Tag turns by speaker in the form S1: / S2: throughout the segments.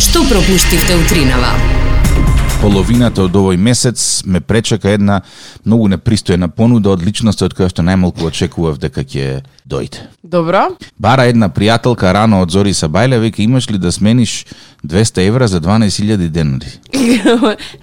S1: што пропуштивте утринава.
S2: Половината од овој месец ме пречека една многу непристојна понуда од личноста од која што најмалку очекував дека ќе дојде.
S3: Добро.
S2: Бара една пријателка рано од Зори Сабајле веќе имаш ли да смениш 200 евра за 12.000 денари?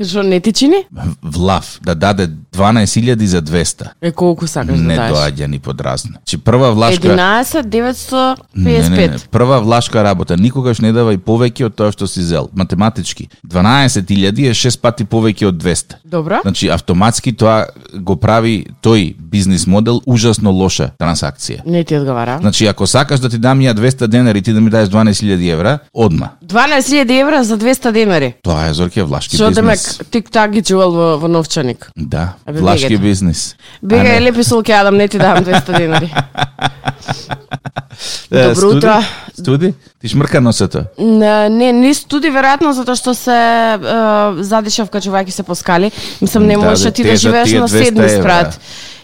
S3: Што не ти чини?
S2: Влав да даде 12.000 за 200.
S3: Е колку сакаш
S2: Не
S3: да дадеш?
S2: доаѓа ни подразна. Чи прва влашка
S3: 11 955.
S2: Не, не, не. Прва влашка работа, никогаш не давај повеќе од тоа што си зел. Математички, 12.000 е 6 пати повеќе од 200.
S3: Добро.
S2: Значи, автоматски тоа го прави тој бизнис модел ужасно лоша транзакција.
S3: Не ти одговара.
S2: Значи, ако сакаш да ти дам ја 200 денари, ти да ми даеш 12.000 евра, одма.
S3: 12.000 евра за 200 денари.
S2: Тоа е Зорке влашки
S3: Што демек
S2: бизнес.
S3: тик-так ги чувал во, во новчаник.
S2: Да,
S3: Абе,
S2: влашки
S3: бегај.
S2: бизнес.
S3: Бега
S2: А
S3: е
S2: не,
S3: лепи солке, Адам, не ти давам 200 денари.
S2: е,
S3: добро
S2: студи?
S3: утро.
S2: Студи? Ти шмрка носето.
S3: Не, не, не студи веројатно затоа што се е, задишав качувајќи се по скали. Мислам не
S2: Да,
S3: можеше
S2: бе,
S3: ти да
S2: тежа
S3: живееш
S2: ти е
S3: на
S2: 200
S3: седми
S2: евра.
S3: спрат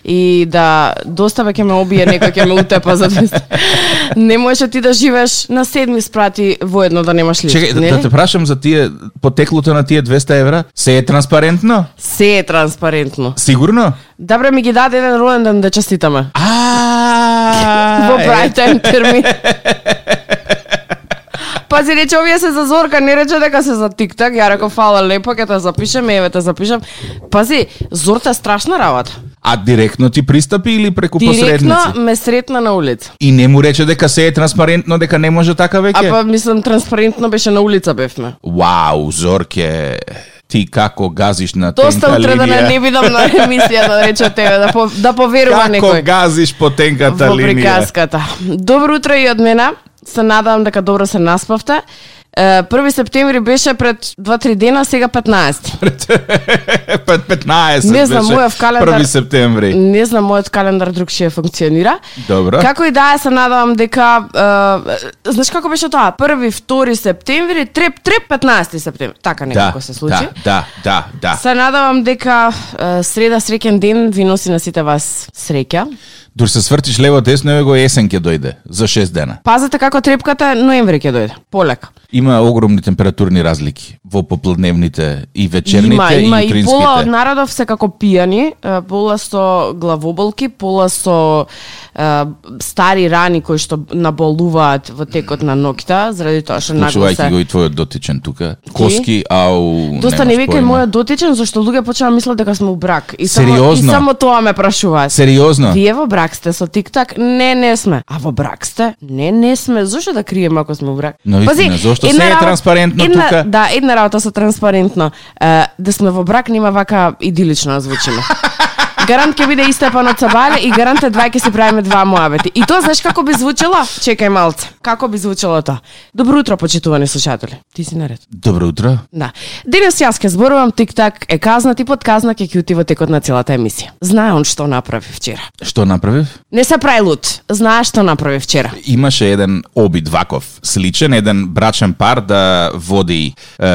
S3: и да доста веќе ме обие некој ќе ме утепа за 200. не можеше ти да живееш на седми спрат и воедно да немаш лифт,
S2: Чекај, да,
S3: нели?
S2: да те прашам за тие потеклото на тие 200 евра, се е транспарентно?
S3: Се е транспарентно.
S2: Сигурно?
S3: Добре ми ги даде еден роден ден да честитаме.
S2: А.
S3: Во прај тајм термин. Пази, рече, овие се за Зорка, не рече дека се за тик-так. Ја реков, фала лепо, ќе те запишем, еве те запишем. Пази, Зорта е страшна работа.
S2: А директно ти пристапи или преку
S3: Директно
S2: посредници?
S3: ме сретна на улица.
S2: И не му рече дека се е транспарентно, дека не може така
S3: А
S2: веќе?
S3: па, мислам, транспарентно беше на улица бевме.
S2: Вау, Зорке, ти како газиш на
S3: Доста
S2: тенка
S3: утре да не, не
S2: линија.
S3: бидам на емисија да рече од тебе, да, по, да поверува
S2: Како
S3: некој.
S2: газиш по тенката
S3: во
S2: линија?
S3: приказката. Добро утро и од мене. Се надавам дека добро се наспавте. Е, 1 септември беше пред 2-3 дена, сега 15.
S2: Пет- 15
S3: Не знам,
S2: беше,
S3: мојов календар-
S2: 1 септември.
S3: Не знам мојот календар другшие функционира.
S2: Добро.
S3: Како и да е, се надавам дека е, е, знаеш како беше тоа? 1 2 септември, треп треп 15 септември. Така
S2: Да,
S3: некако се случи.
S2: да, да, да, да.
S3: Се надавам дека е, среда среќен ден ви носи на сите вас среќа.
S2: Дур се свртиш лево десно, еве го есен ќе дојде за 6 дена.
S3: Пазете како трепката ноември ќе дојде. Полека.
S2: Има огромни температурни разлики во попладневните и вечерните
S3: Има, има
S2: и
S3: и
S2: утринските.
S3: пола од народов се како пијани, е, пола со главоболки, пола со е, стари рани кои што наболуваат во текот на ноќта, заради тоа што нагло
S2: Почувајќи го
S3: се
S2: и твојот дотичен тука. Коски, ау,
S3: Доста не
S2: немаш
S3: викај
S2: појма.
S3: мојот дотичен, зашто луѓе почнаа да мислат дека сме у брак. И само, и
S2: Сериозно?
S3: само тоа ме прашуваат.
S2: Сериозно?
S3: Вие во брак сте со тик-так? Не, не сме. А во брак сте? Не, не сме. Зошто да криеме ако сме во брак?
S2: Но истина, зошто
S3: една
S2: се е
S3: работа-
S2: транспарентно
S3: една,
S2: тука?
S3: Да, една работа со транспарентно. Е, да сме во брак нема вака идилично да звучиме. Гарант ќе биде истапан од Сабале и гарант е два ќе се правиме два муабети. И тоа знаеш како би звучело? Чекај малце. Како би звучело тоа? Добро утро, почитувани слушатели. Ти си наред.
S2: Добро утро.
S3: Да. Денес јас ќе зборувам тик-так е казнат и подказна ќе кјути во текот на целата емисија. Знае он што направи вчера.
S2: Што направив?
S3: Не се прај лут. Знаеш што направи вчера.
S2: Имаше еден обид ваков сличен, еден брачен пар да води е,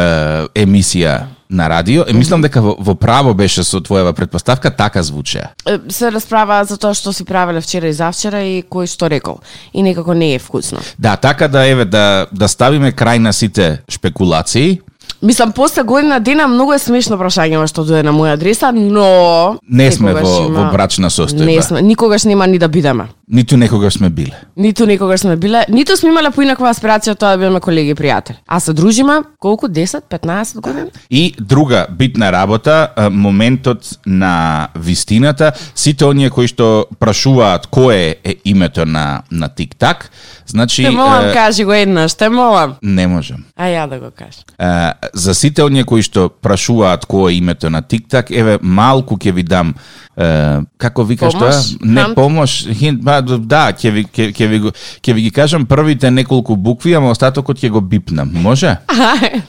S2: емисија на радио. Е, мислам дека во, во право беше со твојава предпоставка, така звучеа.
S3: Е, Се расправа за тоа што си правеле вчера и завчера и кој што рекол. И некако не е вкусно.
S2: Да, така да еве да да ставиме крај на сите шпекулации.
S3: Мислам, после година дена многу е смешно прашање ова што дојде на моја адреса, но...
S2: Не сме
S3: некогаш
S2: во- во брачна состојба.
S3: Не сме, никогаш нема ни да бидеме.
S2: Ниту некогаш сме биле.
S3: Ниту никогаш сме биле, ниту сме имале поинаква аспирација од тоа да бидеме колеги и пријатели. А се дружиме колку 10, 15 години?
S2: И друга битна работа, а, моментот на вистината, сите оние кои што прашуваат кое е името на на TikTok, значи
S3: Те молам,
S2: е,
S3: кажи го еднаш, те молам.
S2: не можам.
S3: А ја да го кажам.
S2: Е, за сите оние кои што прашуваат кое е името на TikTok, еве малку ќе ви дам е, како викаш
S3: Помош?
S2: тоа? Не
S3: Хант?
S2: помош, хин, ба, да, ќе ви ќе ќе ви го ќе ви ги кажам првите неколку букви, ама остатокот ќе го бипнам. Може?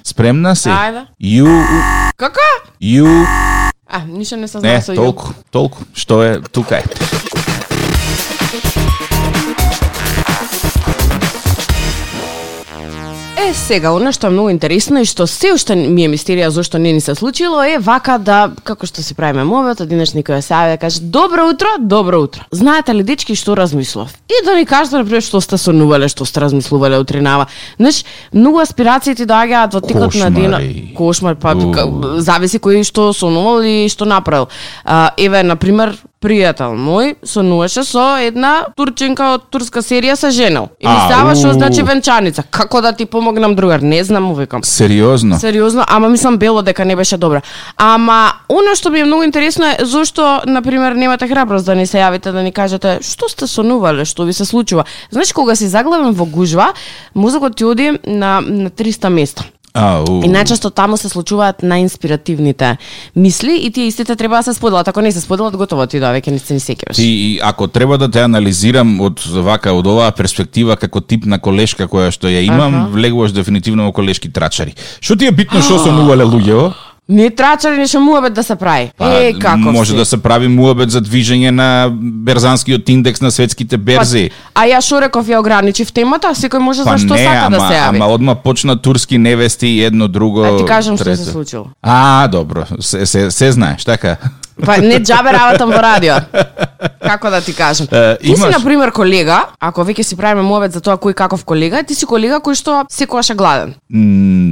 S2: Спремна си?
S3: Ајде.
S2: You
S3: Како?
S2: you
S3: А, ништо не се знае
S2: Не,
S3: со јук.
S2: толку, толку, што е тука е.
S3: Е, е сега, она што е многу интересно и што се уште ми е мистерија зошто не ни се случило е вака да, како што се правиме мовет, одинаш некој ја се јави да каже добро утро, добро утро. Знаете ли дечки што размислов? И да ни кажете на пример што сте сонувале, што сте размислувале утринава. Знаеш, многу аспирации ти доаѓаат во текот на денот.
S2: Кошмари.
S3: Кошмар, па
S2: У.
S3: ка- зависи кој што сонувал и што направил. А, еве, на пример, пријател мој сонуваше со една турченка од турска серија се женел. И ми
S2: А,
S3: става што
S2: у.
S3: значи венчаница. Како да ти помогнам другар? Не знам, му викам.
S2: Сериозно?
S3: Сериозно, ама мислам бело дека не беше добра. Ама она што ми е многу интересно е зошто на пример немате храброст да ни се јавите да ни кажете што сте сонувале, што ви се случува. Знаеш кога си заглавен во гужва, мозокот ти оди на на 300 места.
S2: Ау.
S3: И најчесто таму се случуваат најинспиративните мисли и тие истите треба да се споделат. Ако не се споделат, готово ти да веќе не се ни сеќаваш.
S2: И, и ако треба да те анализирам од вака од оваа перспектива како тип на колешка која што ја имам,
S3: Аха.
S2: влегуваш дефинитивно во колешки трачари. Што ти е битно што сонувале луѓето?
S3: Не трачали нешто муабет да се прави. е, како
S2: Па, може
S3: си?
S2: да се прави муабет за движење на берзанскиот индекс на светските берзи.
S3: Па, а ја шо реков ја ограничив темата, секој може
S2: Па
S3: за што
S2: не,
S3: сака
S2: ама,
S3: да се јави.
S2: ама одма почна турски невести и едно друго.
S3: А ти кажам што
S2: трето.
S3: се случило.
S2: А, добро, се, се, се знаеш, така.
S3: Па не джабе работам во радио. Како да ти кажам?
S2: Е,
S3: ти си
S2: имаш-
S3: на пример колега, ако веќе си правиме мовет за тоа кој каков колега, ти си колега кој што секогаш е гладен.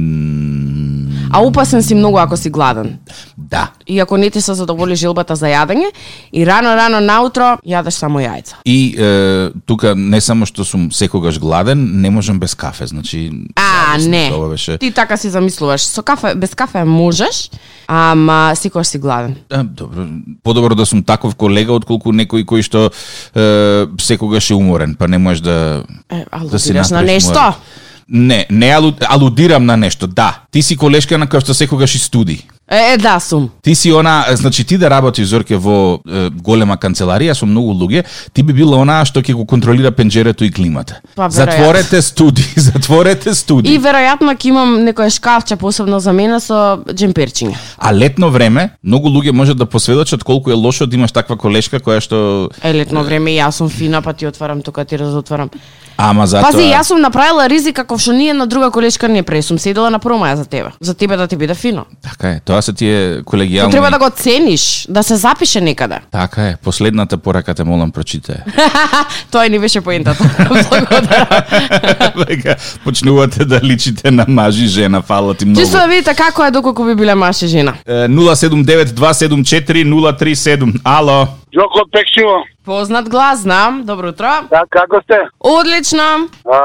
S2: М,
S3: А опасен си многу ако си гладен.
S2: да.
S3: И ако не ти се задоволи желбата за јадење, и рано рано наутро јадеш само јајца.
S2: И е, тука не само што сум секогаш гладен, не можам без кафе, значи
S3: А,
S2: зависно,
S3: не.
S2: Тоа беше.
S3: Ти така си замислуваш. Со кафе, без кафе можеш, ама секогаш си гладен.
S2: А, Да, добро, подобро да сум таков колега отколку некој кој што е, секогаш е уморен, па не можеш да
S3: Е,
S2: да си
S3: алудираш на
S2: направиш
S3: нешто.
S2: муабет. Не, не алу, алудирам на нешто. Да, ти си колешка на која што секогаш и студи.
S3: Е, е, да сум.
S2: Ти си она, значи ти да работиш зорке во е, голема канцеларија со многу луѓе, ти би била онаа што ќе го контролира пенџерето и климата.
S3: Па, веројатно.
S2: затворете студи, затворете студи.
S3: И веројатно ќе имам некоја шкафче посебно за мене со джемперчиња.
S2: А летно време, многу луѓе можат да посведочат колку е лошо да имаш таква колешка која што
S3: Е, летно време и јас сум фина, па ти отварам тука, ти разотварам.
S2: ама затоа
S3: Пази, јас сум направила ризик како што ни една друга колешка не пресум, седела на промаја за тебе. За тебе да ти биде фино.
S2: така е, тоа се тие колегијални.
S3: Тоа треба да го цениш, да се запише некаде.
S2: Така е, последната порака те молам прочитај.
S3: Тоа и не беше поентата.
S2: Вега почнувате да личите на мажи жена, фала ти многу.
S3: Чисто да видите како е доколку би биле маше жена.
S2: Е, 079274037. Ало.
S1: Јоко Пекшиво,
S3: Познат глас, знам. Добро утро.
S1: да, како сте?
S3: Одлично.
S1: А,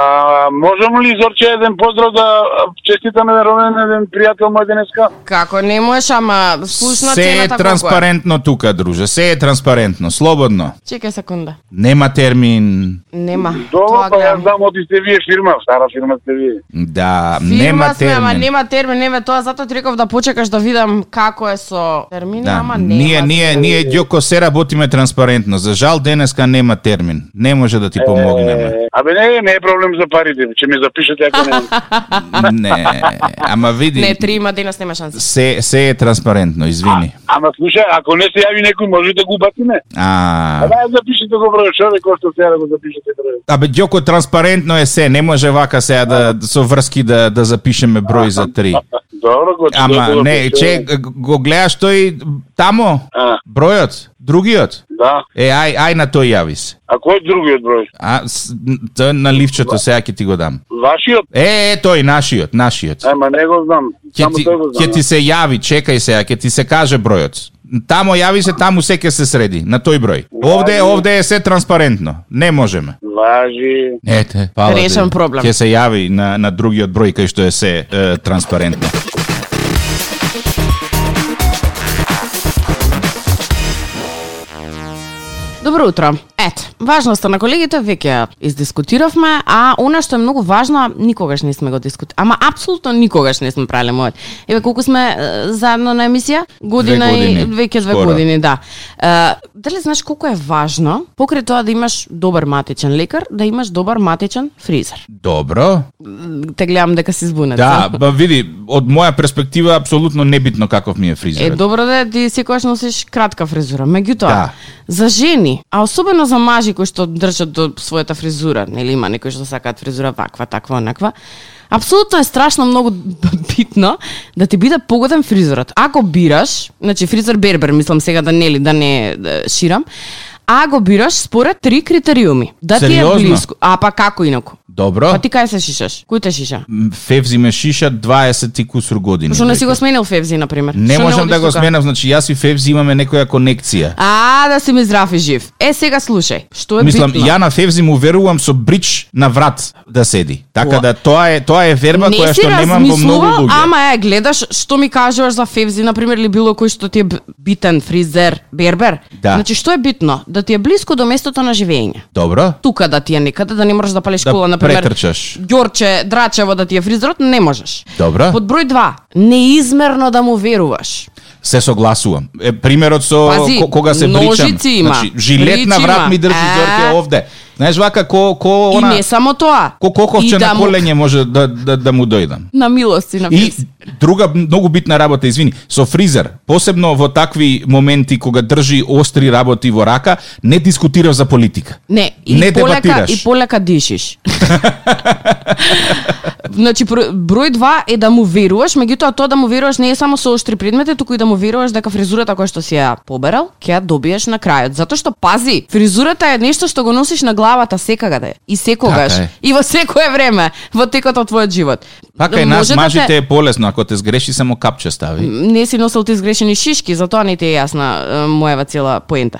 S1: можам ли, Зорче, еден поздрав да а, честитаме на роден еден пријател мој денеска?
S3: Како не можеш, ама слушна
S2: се е
S3: цената колку е.
S2: транспарентно тука, друже. Се е транспарентно, слободно.
S3: Чекај секунда.
S2: Нема термин.
S3: Нема.
S1: Добро,
S3: Тоа
S1: па
S3: гледам.
S1: јас знам, оти сте вие фирма, стара фирма сте вие.
S2: Да,
S3: Фирма
S2: нема
S3: сме, ама
S2: термин.
S3: нема термин, нема тоа, затоа ти реков да почекаш да видам како е со термини,
S2: Да,
S3: ама нема.
S2: ние, ние, ние, Ѓоко, се работиме транспарентно. За жал, денеска нема термин. Не може да ти помогнеме.
S1: Е, Абе, не, не е проблем за парите, ќе ме запишете ако не.
S2: Не, ама види,
S3: Не, три има денес нема шанси.
S2: се, се е транспарентно, извини.
S1: Ама слушај, ако не се јави некој, може да го убатиме. А
S2: А,
S1: да, запишете го број човек, кој што сега да го запишете број.
S2: абе, Ѓоко, транспарентно е се. Не може вака сега да, со врски да, да запишеме број за три.
S1: Добро, го
S2: Ама,
S1: го
S2: не, че,
S1: запишувам.
S2: го гледаш тој тамо,
S1: А.
S2: бројот, другиот.
S1: Да,
S2: Е, ај, ај на тој јави се.
S1: а кој е другиот број?
S2: А, с- н- тој на ливчето сега ќе ти го дам.
S1: Вашиот?
S2: Е, е, тој, нашиот, нашиот.
S1: Ема не го знам,
S2: Ќе
S1: само
S2: ти,
S1: тој го знам.
S2: ќе ти се јави, чекај сега, ќе ти се каже бројот. Тамо јави се, таму се ќе се среди, на тој број. Овде, овде е се транспарентно. Не можеме.
S1: Важи.
S2: Ете, пала ти.
S3: Решен проблем.
S2: Ќе се јави на, на другиот број кај што е се е, транспарентно.
S3: Добро утро. Ето, важноста на колегите веќе ја издискутиравме, а она што е многу важно, никогаш не сме го дискутирали. Ама апсолутно никогаш не сме правеле мојот. Еве колку сме е, заедно на емисија? Година и
S2: години.
S3: веќе две
S2: Скоро.
S3: години, да. Е, дали знаеш колку е важно покрај тоа да имаш добар матичен лекар, да имаш добар матичен фризер?
S2: Добро.
S3: Те гледам дека си збунат.
S2: Да, ба види, од моја перспектива апсолутно небитно каков ми е
S3: Е,
S2: фризерот.
S3: добро да е, ти секогаш носиш кратка фризура. Меѓутоа,
S2: Да.
S3: за жени, а особено за мажи кои што држат до својата фризура, нели има некои што сакаат фризура ваква, таква, онаква, Апсолутно е страшно многу битно да ти биде погоден фризерот. Ако бираш, значи фризер бербер, мислам сега да нели да не да ширам, а го бираш според три критериуми. Да ти
S2: Сериозно?
S3: е блиско. А па како инаку?
S2: Добро.
S3: Па ти кај се шишаш? Кој те шиша?
S2: М, Февзи ме шиша 20 и кусур години.
S3: Што не си го сменил Февзи, например?
S2: Не
S3: Што
S2: можам
S3: одиш
S2: да го
S3: тука?
S2: сменам, значи јас и Февзи имаме некоја конекција.
S3: А, да си ми здрав и жив. Е, сега слушај, што е
S2: Мислам,
S3: битно?
S2: ја на Февзи му верувам со брич на врат да седи. Така
S3: О.
S2: да тоа е тоа е верба која што немам во многу
S3: размислувал,
S2: луѓе.
S3: ама е, гледаш што ми кажуваш за Февзи, например, или било кој што ти е б- битен фризер, бербер.
S2: Да.
S3: Значи, што е битно? Да ти е блиско до местото на живење.
S2: Добро?
S3: Тука да ти е некаде, да не можеш да палиш
S2: Да
S3: кола, например.
S2: претрчаш.
S3: Ѓорче, Драчево да ти е фризерот, не можеш.
S2: Добро.
S3: Под број 2, неизмерно да му веруваш.
S2: Се согласувам. Е, примерот со
S3: Пази,
S2: ко- кога се бричам.
S3: ножици има,
S2: Значи, жилет на
S3: брич
S2: врат
S3: има.
S2: ми држи
S3: Е.
S2: Зорке овде. Знаеш вака ко ко
S3: И
S2: она
S3: не само тоа.
S2: ко
S3: И
S2: коковче
S3: да
S2: на
S3: му-
S2: колење може да да, да му дојдам.
S3: На милост и на
S2: И
S3: Февзи.
S2: друга многу битна работа, извини, со фризер, посебно во такви моменти кога држи остри работи во рака, не дискутира за политика.
S3: Не, и
S2: Не
S3: полека,
S2: дебатираш.
S3: и полека дишиш. значи, бро- број два е да му веруваш, меѓутоа тоа да му веруваш не е само со оштри предмети, туку и да му веруваш дека фризурата која што си ја поберал, ќе ја добиеш на крајот. Затоа што, пази, фризурата е нешто што го носиш на главата секагаде и секогаш,
S2: Така е.
S3: и во секое време, во текот од твојот живот.
S2: Па кај нас
S3: Може да
S2: мажите
S3: те-
S2: е полесно, ако те сгреши само капче стави.
S3: не си носел ти изгрешени шишки, затоа не ти е јасна е, мојава цела поента.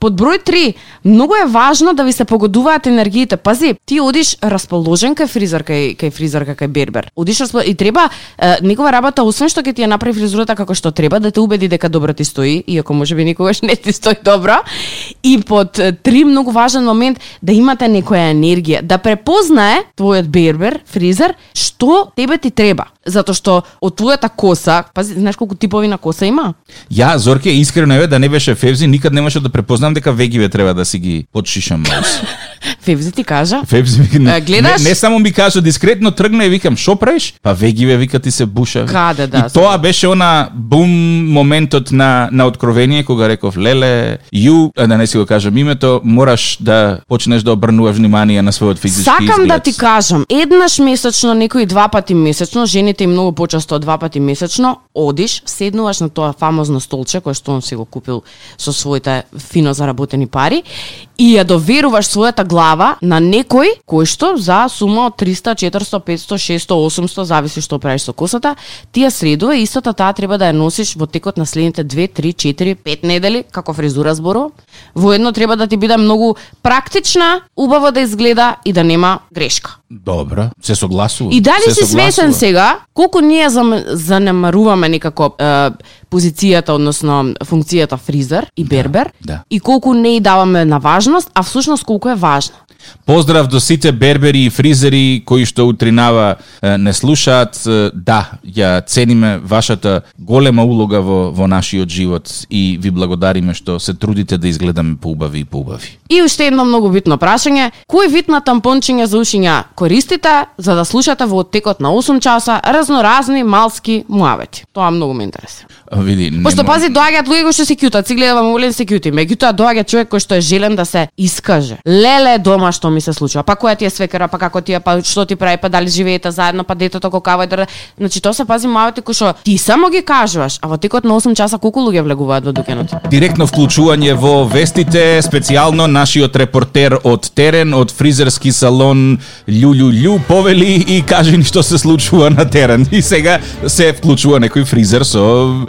S3: Под број 3, многу е важно да ви се погодуваат енергиите. Пази, ти одиш расположен кај фризер, кај, кај фризерка, кај бербер. Одиш распол... и треба е, некова работа, освен што ќе ти ја направи фризурата како што треба, да те убеди дека добро ти стои, иако може би никогаш не ти стои добро. И под е, три, многу важен момент, да имате некоја енергија, да препознае твојот бербер, фризер, што тебе ти треба. Затоа што од твојата коса, пази, знаеш колку типови на коса има?
S2: Ја, Зорке, искрено еве да не беше Февзи, никад немаше да препознам дека вегиве треба да си ги подшишам маус.
S3: Февзи ти кажа.
S2: Февзи ми не,
S3: Е, гледаш?
S2: не, не само ми кажа дискретно тргна и викам што правиш? Па вегиве вика ти се буша.
S3: Каде, да,
S2: И тоа беше она бум моментот на на откровение кога реков леле, ју, а да не си го кажам името, мораш да почнеш да обрнуваш внимание на својот физички
S3: Сакам
S2: изглед.
S3: да ти кажам, еднаш месечно, некои два пати месечно, жените и многу почесто два пати месечно, одиш, седнуваш на тоа фамозно столче кое што он си го купил со своите фино заработени пари и ја доверуваш својата глава на некој кој што за сума од 300, 400, 500, 600, 800, зависи што правиш со косата, ти ја средува и истата таа треба да ја носиш во текот на следните 2, 3, 4, 5 недели, како фризура зборува. Воедно треба да ти биде многу практична, убаво да изгледа и да нема грешка.
S2: Добро, се согласувам.
S3: И дали
S2: се
S3: си свесен
S2: согласувам.
S3: сега колку ние зам- занемаруваме некако е, позицијата, односно функцијата фризер и бербер,
S2: да.
S3: и колку не и даваме на важност, а всушност колку е важно.
S2: Поздрав до сите бербери и фризери кои што утринава е, не слушаат. Е, Да, ја цениме вашата голема улога во, во нашиот живот и ви благодариме што се трудите да изгледаме поубави и поубави.
S3: И уште едно многу битно прашање, кој вид на тампончиња за ушиња користите за да слушате во текот на 8 часа разноразни малски муавети? Тоа многу ме интересува.
S2: А, Види, не
S3: Пошто
S2: мо-
S3: пази доаѓаат луѓе кои што се кјутат, си гледам волен се кјути, меѓутоа доаѓа човек кој што е желен да се искаже. Леле дома што ми се случува. Па која ти е свекера, па како ти е, па што ти прави, па дали живеете заедно, па детето кокава е др... Значи тоа се пази мавите кои што ти само ги кажуваш, а во текот на 8 часа колку луѓе влегуваат во дуќанот?
S2: Директно вклучување во вестите, специјално нашиот репортер од терен, од фризерски салон Лјулју Лју повели и кажи ни што се случува на терен. И сега се вклучува некој фризер со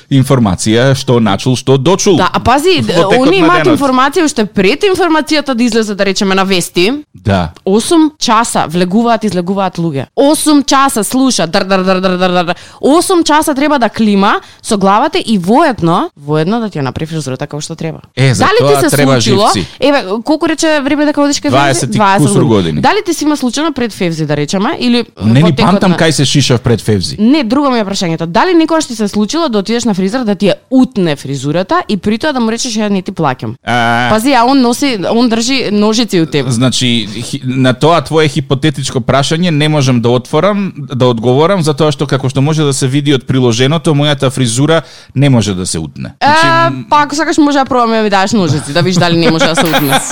S2: информација што начул, што дочул.
S3: Да, а пази,
S2: Во текот
S3: они
S2: на
S3: имаат
S2: денот.
S3: информација уште пред информацијата да излезе, да речеме, на вести.
S2: Да.
S3: 8 часа влегуваат, излегуваат луѓе. 8 часа слуша, дар, дар, дар, дар, дар, дар. 8 часа треба да клима со главата и воедно, воедно да ти ја направи фризурата како што треба.
S2: Е, за
S3: Дали
S2: тоа
S3: ти се
S2: треба
S3: случило?
S2: живци.
S3: Еве, колку рече време дека одиш кај
S2: 20 и кусур години.
S3: Дали ти си има случајно пред Февзи да речеме или
S2: Не
S3: во
S2: ни
S3: текот
S2: памтам
S3: на-
S2: кај се шишав пред Февзи.
S3: Не, друго ми е прашањето. Дали никогаш ти се случило да отидеш на фризер да ти ја утне фризурата и при тоа да му речеш ја не ти плаќам?
S2: А,
S3: Пази, а он носи, он држи ножици у тебе.
S2: значи, хи- на тоа твое хипотетичко прашање не можам да отворам, да одговорам, затоа што како што може да се види од приложеното, мојата фризура не може да се утне.
S3: Е, па ако сакаш може да пробаме да ми дадеш ножици, да видиш дали не може да се уднес.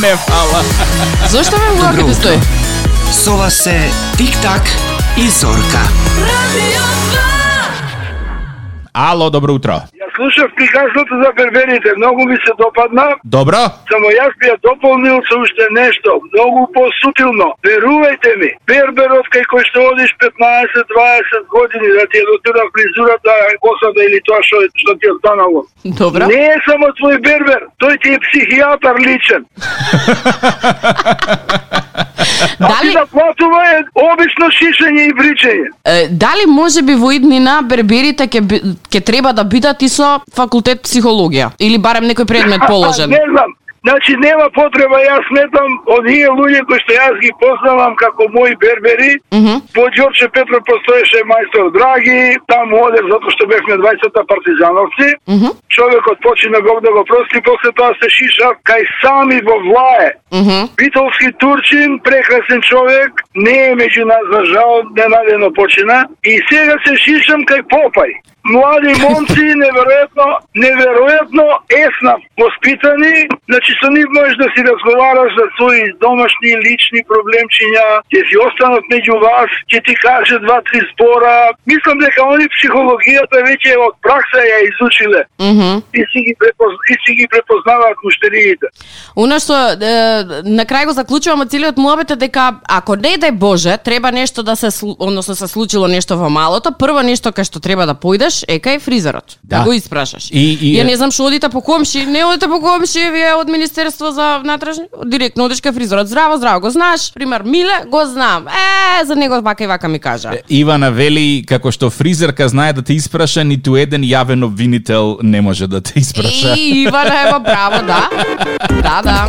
S2: Не, фала.
S3: Зошто ме мора ти стои?
S4: Со вас се Тик-так и Зорка.
S5: Radio 2.
S2: Ало, добро утро.
S1: Ја слушав приказното за берберите, многу ми се допадна,
S2: Добро?
S1: само јас би ја дополнил со уште нешто, многу посутилно. Верувајте ми, берберот кај кој што одиш 15-20 години да ти ја дотира фризурата, косата или тоа што, е- што ти е останало.
S3: Добро.
S1: Не е само твој бербер, тој ти е психијатар личен.
S3: Дали,
S1: Да платува е обично шишење и бричење.
S3: е, дали може би во иднина берберите ќе би- ќе треба да бидат и со факултет психологија или барем некој предмет положен?
S1: Не знам. Значи нема потреба, јас сметам оние луѓе кои што јас ги познавам како мои бербери, по Ѓорче Петро постоеше мајстор Драги, таму одев затоа што бевме 20-та партизановци. Човекот почина Бог да го прости, после тоа се шиша кај сами во влае. Битолски турчин, прекрасен човек, не е меѓу нас за жал, ненадено почина. И сега се шишам кај Попај. Млади момци, неверојатно, неверојатно есна воспитани, значи со нив можеш да си разговараш за своји домашни лични проблемчиња, ќе си останат меѓу вас, ќе ти каже два-три збора. Мислам дека они психологијата веќе од пракса ја изучиле и си ги, препоз... и си ги препознаваат муштериите.
S3: Она што е, на крај го заклучуваме целиот муабет е дека ако не дај Боже, треба нешто да се слу- односно се случило нешто во малото, прво нешто кај што треба да поидеш е кај фризерот. Да,
S2: Да.
S3: го испрашаш.
S2: И- и-
S3: Ја не знам што одите по комши, не одите по комши, вие од Министерство за внатрешни, директно одиш кај фризерот. Здраво, здраво, го знаеш, пример Миле, го знам. Е, за него вака и вака ми кажа.
S2: Ивана вели како што фризерка знае да те испраша, ниту еден јавен обвинител не може да те испраша.
S3: И Ивана ево браво, да. Да, да.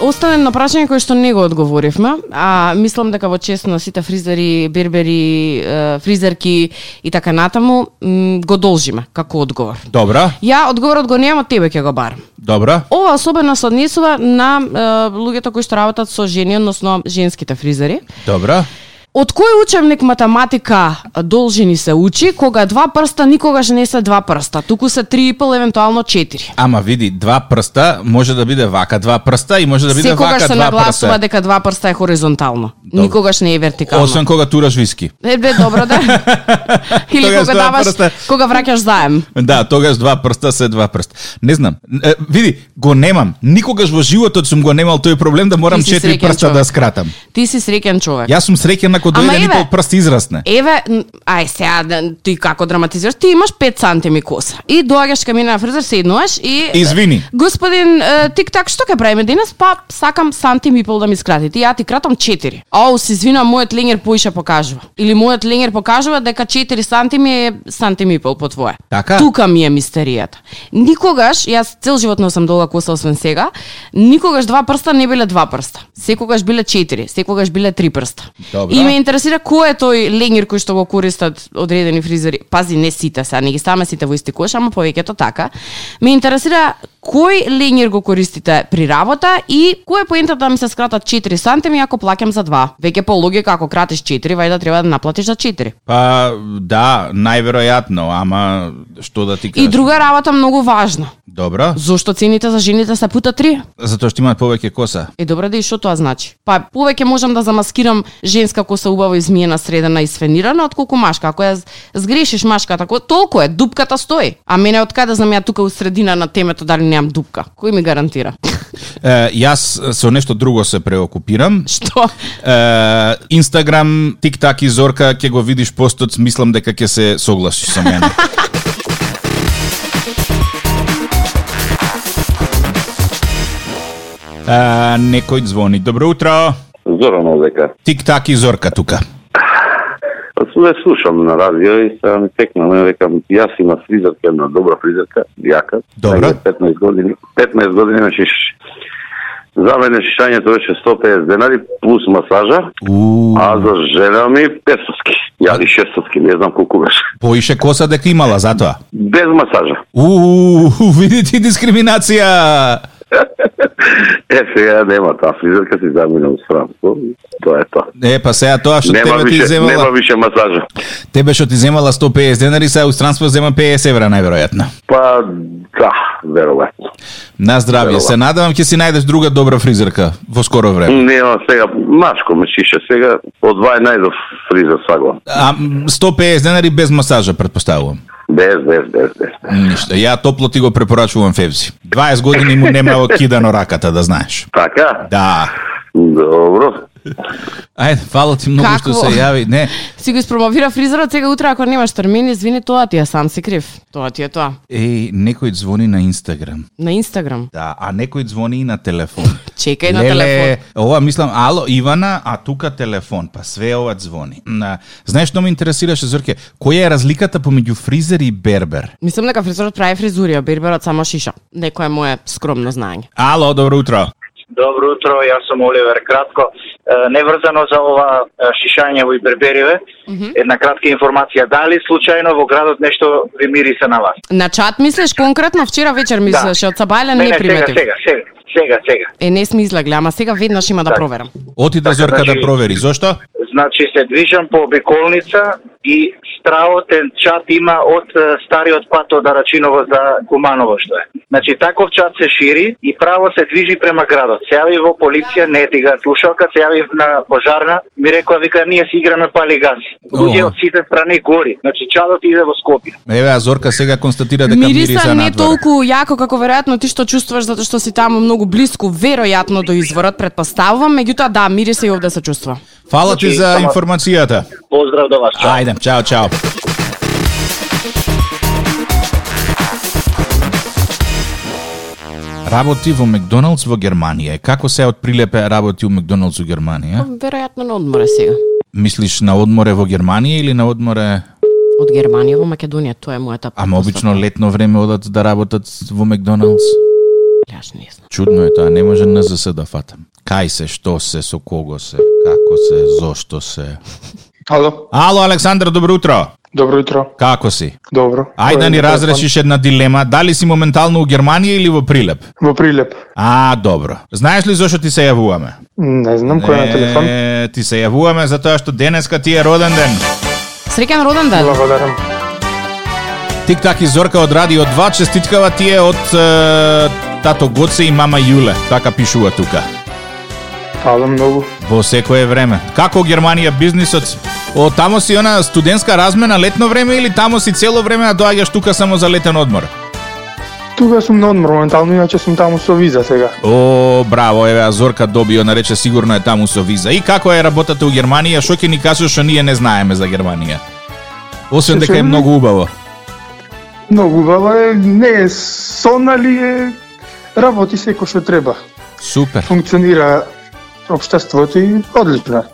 S3: Остане на прашање кое што не го одговоривме, а мислам дека во чест на сите фризери, бербери, е, фризерки и така натаму м, го должиме како одговор.
S2: Добро,
S3: Ја одговорот го немам, тебе ќе го барам.
S2: добро.
S3: Ова особено се однесува на е, луѓето кои што работат со жени, односно женските фризери.
S2: Добро.
S3: Од кој учебник математика должини се учи, кога два прста никогаш не се два прста, туку се три и пол, евентуално четири.
S2: Ама види, два прста може да биде вака два прста и може да биде
S3: Секогаш
S2: вака
S3: се
S2: два
S3: нагласува
S2: прста.
S3: дека два прста е хоризонтално, никогаш не е вертикално.
S2: Освен кога тураш виски.
S3: Е, бе, добро да. Или
S2: Тогаш
S3: кога
S2: два
S3: даваш,
S2: прста.
S3: кога враќаш заем.
S2: Да, тогаш два прста се два прста. Не знам. Е, види, го немам. Никогаш во животот сум го немал тој проблем да морам
S3: Ти си
S2: четири
S3: среќен
S2: прста
S3: човек.
S2: да скратам.
S3: Ти си среќен човек.
S2: Јас сум среќен ако
S3: Ама,
S2: дојде
S3: еве.
S2: некој прст израсне.
S3: Еве, н- ај сега, да- ти како драматизираш, ти имаш 5 сантими коса. И доаѓаш кај мене на фризер, седнуваш и...
S2: Извини.
S3: Господин е, Тик-так, што ќе правиме денес? Па, сакам сантим и пол да ми скратите. Ја ти кратам 4. Ау, се извинам, мојот ленгер поише покажува. Или мојот ленгер покажува дека 4 сантими е сантим и пол по твое.
S2: Така?
S3: Тука ми е мистеријата. Никогаш, јас цел живот носам долга коса освен сега, никогаш два прста не биле два прста. Секогаш биле 4, секогаш биле три прста.
S2: Добра.
S3: И ме интересира кој е тој ленгер кој што го користат одредени фризери. Пази, не сите сега, не ги ставаме сите во исти кош, ама повеќето така. Ме интересира кој ленгер го користите при работа и кој е поентата да ми се скратат 4 сантими ако плаќам за 2. Веќе по логика ако кратиш 4, вајда треба да наплатиш за 4.
S2: Па, да, најверојатно, ама што да ти кажам.
S3: И друга работа многу важна.
S2: Добро,
S3: Зошто цените за жените се пута 3?
S2: затоа што имаат повеќе коса.
S3: Е добро да и што тоа значи? Па повеќе можам да замаскирам женска коса убаво измиена, средена и сфенирана отколку машка. Ако ја з- сгрешиш машката, ако толку е, дупката стои. А мене од каде знам ја тука у средина на темето дали немам дупка? Кој ми гарантира?
S2: Е, јас со нешто друго се преокупирам.
S3: што?
S2: Е, Инстаграм, Тик-так и Зорка ќе го видиш постот, мислам дека ќе се согласиш со мене. А, некој звони. Добро утро.
S6: Зорано дека.
S2: Тик-так и Зорка тука.
S6: Сме Па слушам на радио и се ми текнаме, викам, јас има фризерка, една добра фризерка, јака.
S2: Добра.
S6: Најде 15 години, 15 години имаше ш- За мене шишањето беше 150 денари плюс масажа,
S2: У,
S6: а за жена ми 500-ски. Ја или 600-ки, не знам колку беше.
S2: поише коса дека имала затоа.
S6: Без масажа.
S2: У, види ти дискриминација.
S6: е, сега нема таа фризерка, си замина у срамство. Тоа е тоа.
S2: Е, па сега тоа што
S6: Нема
S2: тебе ти
S6: више, нема
S2: земала,
S6: више масажа.
S2: тебе што ти земала 150 денари, сега странство зема 50 евра најверојатно.
S6: Па, да, веројатно.
S2: На здравје, се надевам ќе си најдеш друга добра фризерка во скоро време.
S6: Нема сега, машко ме чише сега, од 12 до фризер сагла.
S2: А м, 150 денари без масажа, предпоставувам.
S6: Без, без, без, без.
S2: Ништо, ја топло ти го препорачувам Февзи. 20 години му нема е кидано раката, да знаеш.
S6: Така?
S2: Да.
S6: Добро.
S2: Ајде, фала ти многу што
S3: Какво?
S2: се јави. Не,
S3: Си го испромовира фризерот, сега утре ако немаш термин, извини, тоа ти е сам си крив. Тоа ти е тоа.
S2: еј, некој звони на Инстаграм.
S3: На Инстаграм.
S2: Да, а некој звони и на телефон.
S3: Чекај на
S2: Леле,
S3: телефон.
S2: Ова мислам, ало Ивана, а тука телефон, па све ова звони. На, знаеш што ме интересираше Зорке, која е разликата помеѓу фризер и бербер?
S3: Мислам дека фризерот прави фризурија, берберот само шиша. Некој е мое скромно знаење.
S2: Ало, добро утро.
S7: Добро утро, јас сум Оливер Кратко. Е, Неврзано за ова е, шишање во Ибербереве, една кратка информација. Дали случајно во градот нешто ви мириса на вас?
S3: На чат мислиш конкретно вчера вечер мислеше, од Сабајле не,
S7: сега,
S3: приметив.
S7: сега, сега, сега, сега.
S3: Е, не сме излагле, ама сега веднаш има да проверам.
S2: Оти да
S7: Така,
S2: Зорка да
S7: значи-
S2: провери, зошто?
S7: Значи се движам по обиколница и страотен чат има од е, стариот пат од Арачиново за Куманово што е. Значи таков чат се шири и право се движи према градот. Се јави во полиција, не ти га слушалка, се јави на пожарна, ми рекоа вика ние си играме пали гаси. Луѓе
S2: Ого.
S7: од сите страни гори. Значи чадот иде во Скопје.
S2: Еве, а Зорка сега констатира дека мириса,
S3: Мириса не
S2: надвор.
S3: толку јако како веројатно ти што чувствуваш затоа што си таму многу блиску, веројатно до изворот предпоставувам, меѓутоа да, мириса и овде се чувствува.
S2: Фала ти
S7: Значи,
S2: за
S7: само- Да.
S2: информацијата.
S7: Поздрав до вас. Чао.
S2: Ајде, чао, чао. Работи во Макдоналдс во Германија. Како се од прилепе работи у Макдоналдс во Германија?
S3: Веројатно на одмора сега.
S2: Мислиш на одморе во Германија или на одморе...
S3: Од Германија во Македонија, тоа е мојата
S2: Ама
S3: предпоставка.
S2: обично летно време одат да работат во Макдоналдс.
S3: Јас не знам.
S2: Чудно е тоа, не може на ЗС да фатам. Кај се, што се, со кого се, како се, зошто се.
S8: Ало,
S2: Ало, Александр, добро утро.
S8: добро утро.
S2: Како си?
S8: Добро.
S2: Ај да ни разрешиш една дилема, дали си моментално у Германија или во Прилеп?
S8: Во Прилеп.
S2: А, добро. Знаеш ли зошто ти се јавуваме?
S8: Не знам кој е на телефон.
S2: Е, ти се јавуваме затоа што денеска ти е роден ден.
S3: Среќен роден ден.
S8: Благодарам.
S2: Тик-так и Зорка од Радио 2 честиткава ти е од е, тато Гоце и мама Јуле, така пишува тука.
S8: Фала многу.
S2: Во секое време. Како Германија бизнисот? О, тамо си она студентска размена летно време или тамо си цело време а доаѓаш тука само за летен одмор?
S8: Тука сум на одмор, моментално иначе сум таму со виза сега.
S2: О, браво, еве, а Зорка добио, нарече, сигурно е таму со виза. И како е работата у Германија? Шо ќе ни кажеш што ние не знаеме за Германија? Освен дека е многу убаво.
S8: Многу убава е, не е сон, али е работи секој што треба.
S2: Супер,
S8: Функционира општеството и одлично. е.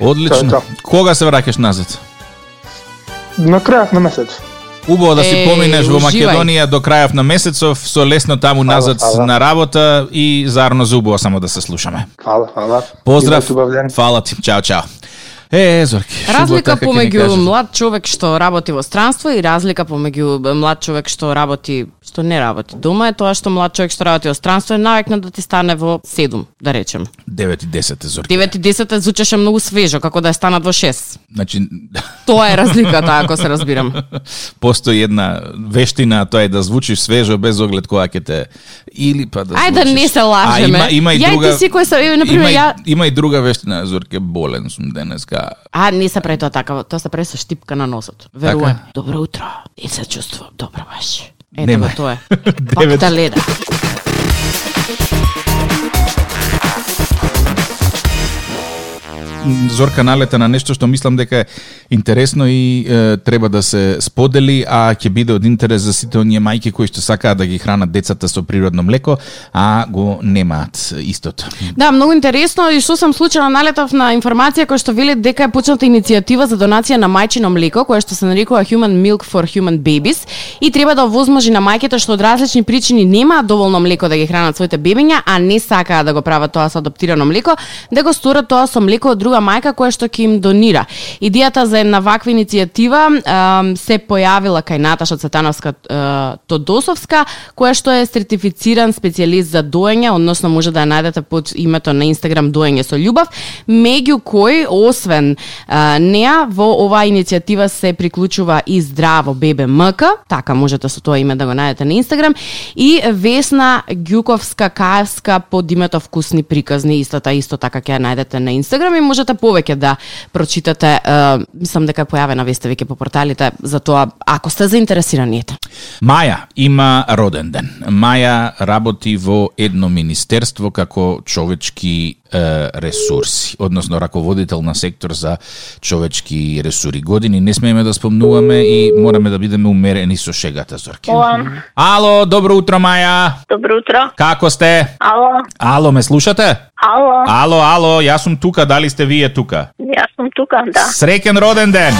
S8: Тоа
S2: одлично.
S8: е тоа.
S2: Кога се враќаш назад?
S8: На крајот на месец.
S2: Убаво да си
S3: Е,
S2: поминеш во
S3: уживај.
S2: Македонија до крајов на месецов, со лесно таму назад
S8: ала.
S2: на работа и зарно за убаво само да се слушаме.
S8: Фала, фала.
S2: Поздрав,
S8: Имајте убав ден.
S2: фала ти, чао, чао. Е, Зорки,
S3: Разлика
S2: шубота, како така ќе ни
S3: помеѓу
S2: кажеш?
S3: млад човек што работи во странство и разлика помеѓу млад човек што работи што не работи дома е тоа што млад човек што работи во странство е навикнат да ти стане во 7, да речем.
S2: 9 и 10 е, Зорки.
S3: 9 и 10 звучеше многу свежо, како да е станат во 6.
S2: Значи,
S3: Тоа е разликата, ако се разбирам.
S2: постои една вештина, а тоа е да звучиш свежо без оглед која ќе те или па да
S3: Ај да
S2: звучиш-
S3: не се
S2: А,
S3: лажеме.
S2: има, има и
S3: Ја и
S2: друга.
S3: ти си кој се- е, например,
S2: има, и-
S3: ја-
S2: има и друга вештина, Зорке, болен сум денеска.
S3: А, не се прави тоа така, тоа се прави со штипка на носот. Верувам. Добро утро. И се чувствувам добро баш. Ете го
S2: Немај.
S3: тоа е.
S2: Девет.
S3: Пакта леда.
S2: Зорка налета на нешто што мислам дека е интересно и е, треба да се сподели, а ќе биде од интерес за сите оние мајки кои што сакаат да ги хранат децата со природно млеко, а го немаат истото.
S3: Да, многу интересно и што сам случајно налетов на информација која што вели дека е почната иницијатива за донација на мајчино млеко, која што се нарекува Human Milk for Human Babies и треба да овозможи на мајките што од различни причини немаат доволно млеко да ги хранат своите бебиња, а не сакаат да го прават тоа со адаптирано млеко, да го сторат тоа со млеко од друга друга мајка која што ќе им донира. Идејата за една ваква иницијатива ем, се појавила кај Наташа Цветановска е, Тодосовска, која што е сертифициран специјалист за доење, односно може да ја најдете под името на Инстаграм Доење со љубов, меѓу кои освен а, неа во оваа иницијатива се приклучува и здраво бебе МК, така можете со тоа име да го најдете на Инстаграм, и Весна Ѓуковска Каевска под името Вкусни приказни, истата исто така ќе ја најдете на Инстаграм и можете повеќе да прочитате, а, мислам дека е појавена веста веќе по порталите, за тоа ако сте заинтересирани ете.
S2: Маја има роден ден. Маја работи во едно министерство како човечки е, ресурси, односно раководител на сектор за човечки ресури. Години не смееме да спомнуваме и мораме да бидеме умерени со шегата, Зорки.
S9: Ола,
S2: Ало, добро утро, Маја!
S9: добро утро.
S2: Како сте?
S9: Ало,
S2: Ало, ме слушате?
S9: ало,
S2: Ало, ало, јас сум тука, дали сте вие тука?
S9: јас сум тука, да.
S2: Среќен роден ден!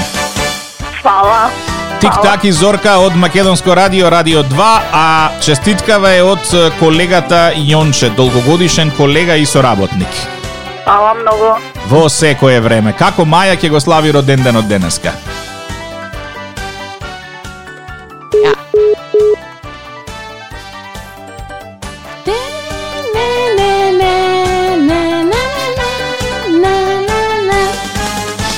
S9: Фала.
S2: Тик-так и Зорка од Македонско радио, Радио 2, а честиткава е од е, колегата Јонче, долгогодишен колега и соработник.
S9: Фала многу.
S2: Во секое време. Како Маја ќе го слави роден ден од денеска?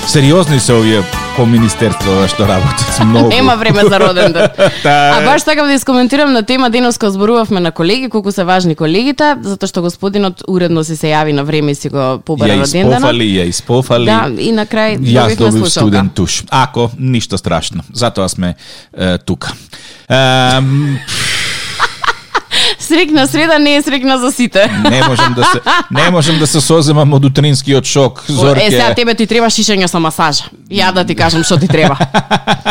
S2: Сериозни се овие по министерството што работат многу.
S3: Нема време за роден ден.
S2: Та,
S3: А баш сакам да искоментирам на тема денес кога зборувавме на колеги, колку се важни колегите, затоа што господинот уредно си се јави на време и си го побара
S2: ја
S3: роден денот.
S2: испофали, ја испофали.
S3: Да, и на крај
S2: Јас
S3: добивме
S2: добив
S3: слушалка.
S2: студен туш. Ако, ништо страшно. Затоа сме е, тука. Ем,
S3: Срекна среда не е срекна за сите.
S2: не можам да се не можам да се соземам од утринскиот шок. Зорке.
S3: Е, сега тебе ти треба шишење со масажа. Ја да ти кажам што ти треба.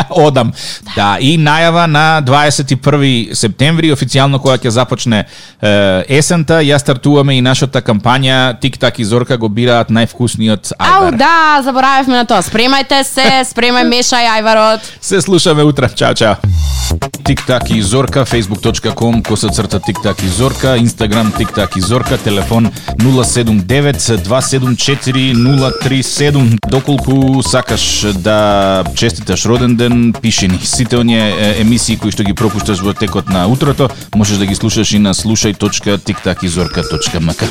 S2: Одам. Да, и најава на 21 септември, официјално која ќе започне е, есента, ја стартуваме и нашата кампања Тик-так и Зорка го бираат највкусниот
S3: Ау,
S2: ајвар.
S3: да, заборавивме на тоа. Спремајте се, спремај мешај ајварот.
S2: Се слушаме утре. Чао, чао. Тик-так и Зорка, facebook.com, коса црта Тик-так и Зорка, Instagram Тик-так и Зорка, телефон 079-274-037. Доколку сакаш да честиташ роден ден, пиши ни. Сите оние е, емисии кои што ги пропушташ во текот на утрото, можеш да ги слушаш и на слушај.тиктакизорка.мк.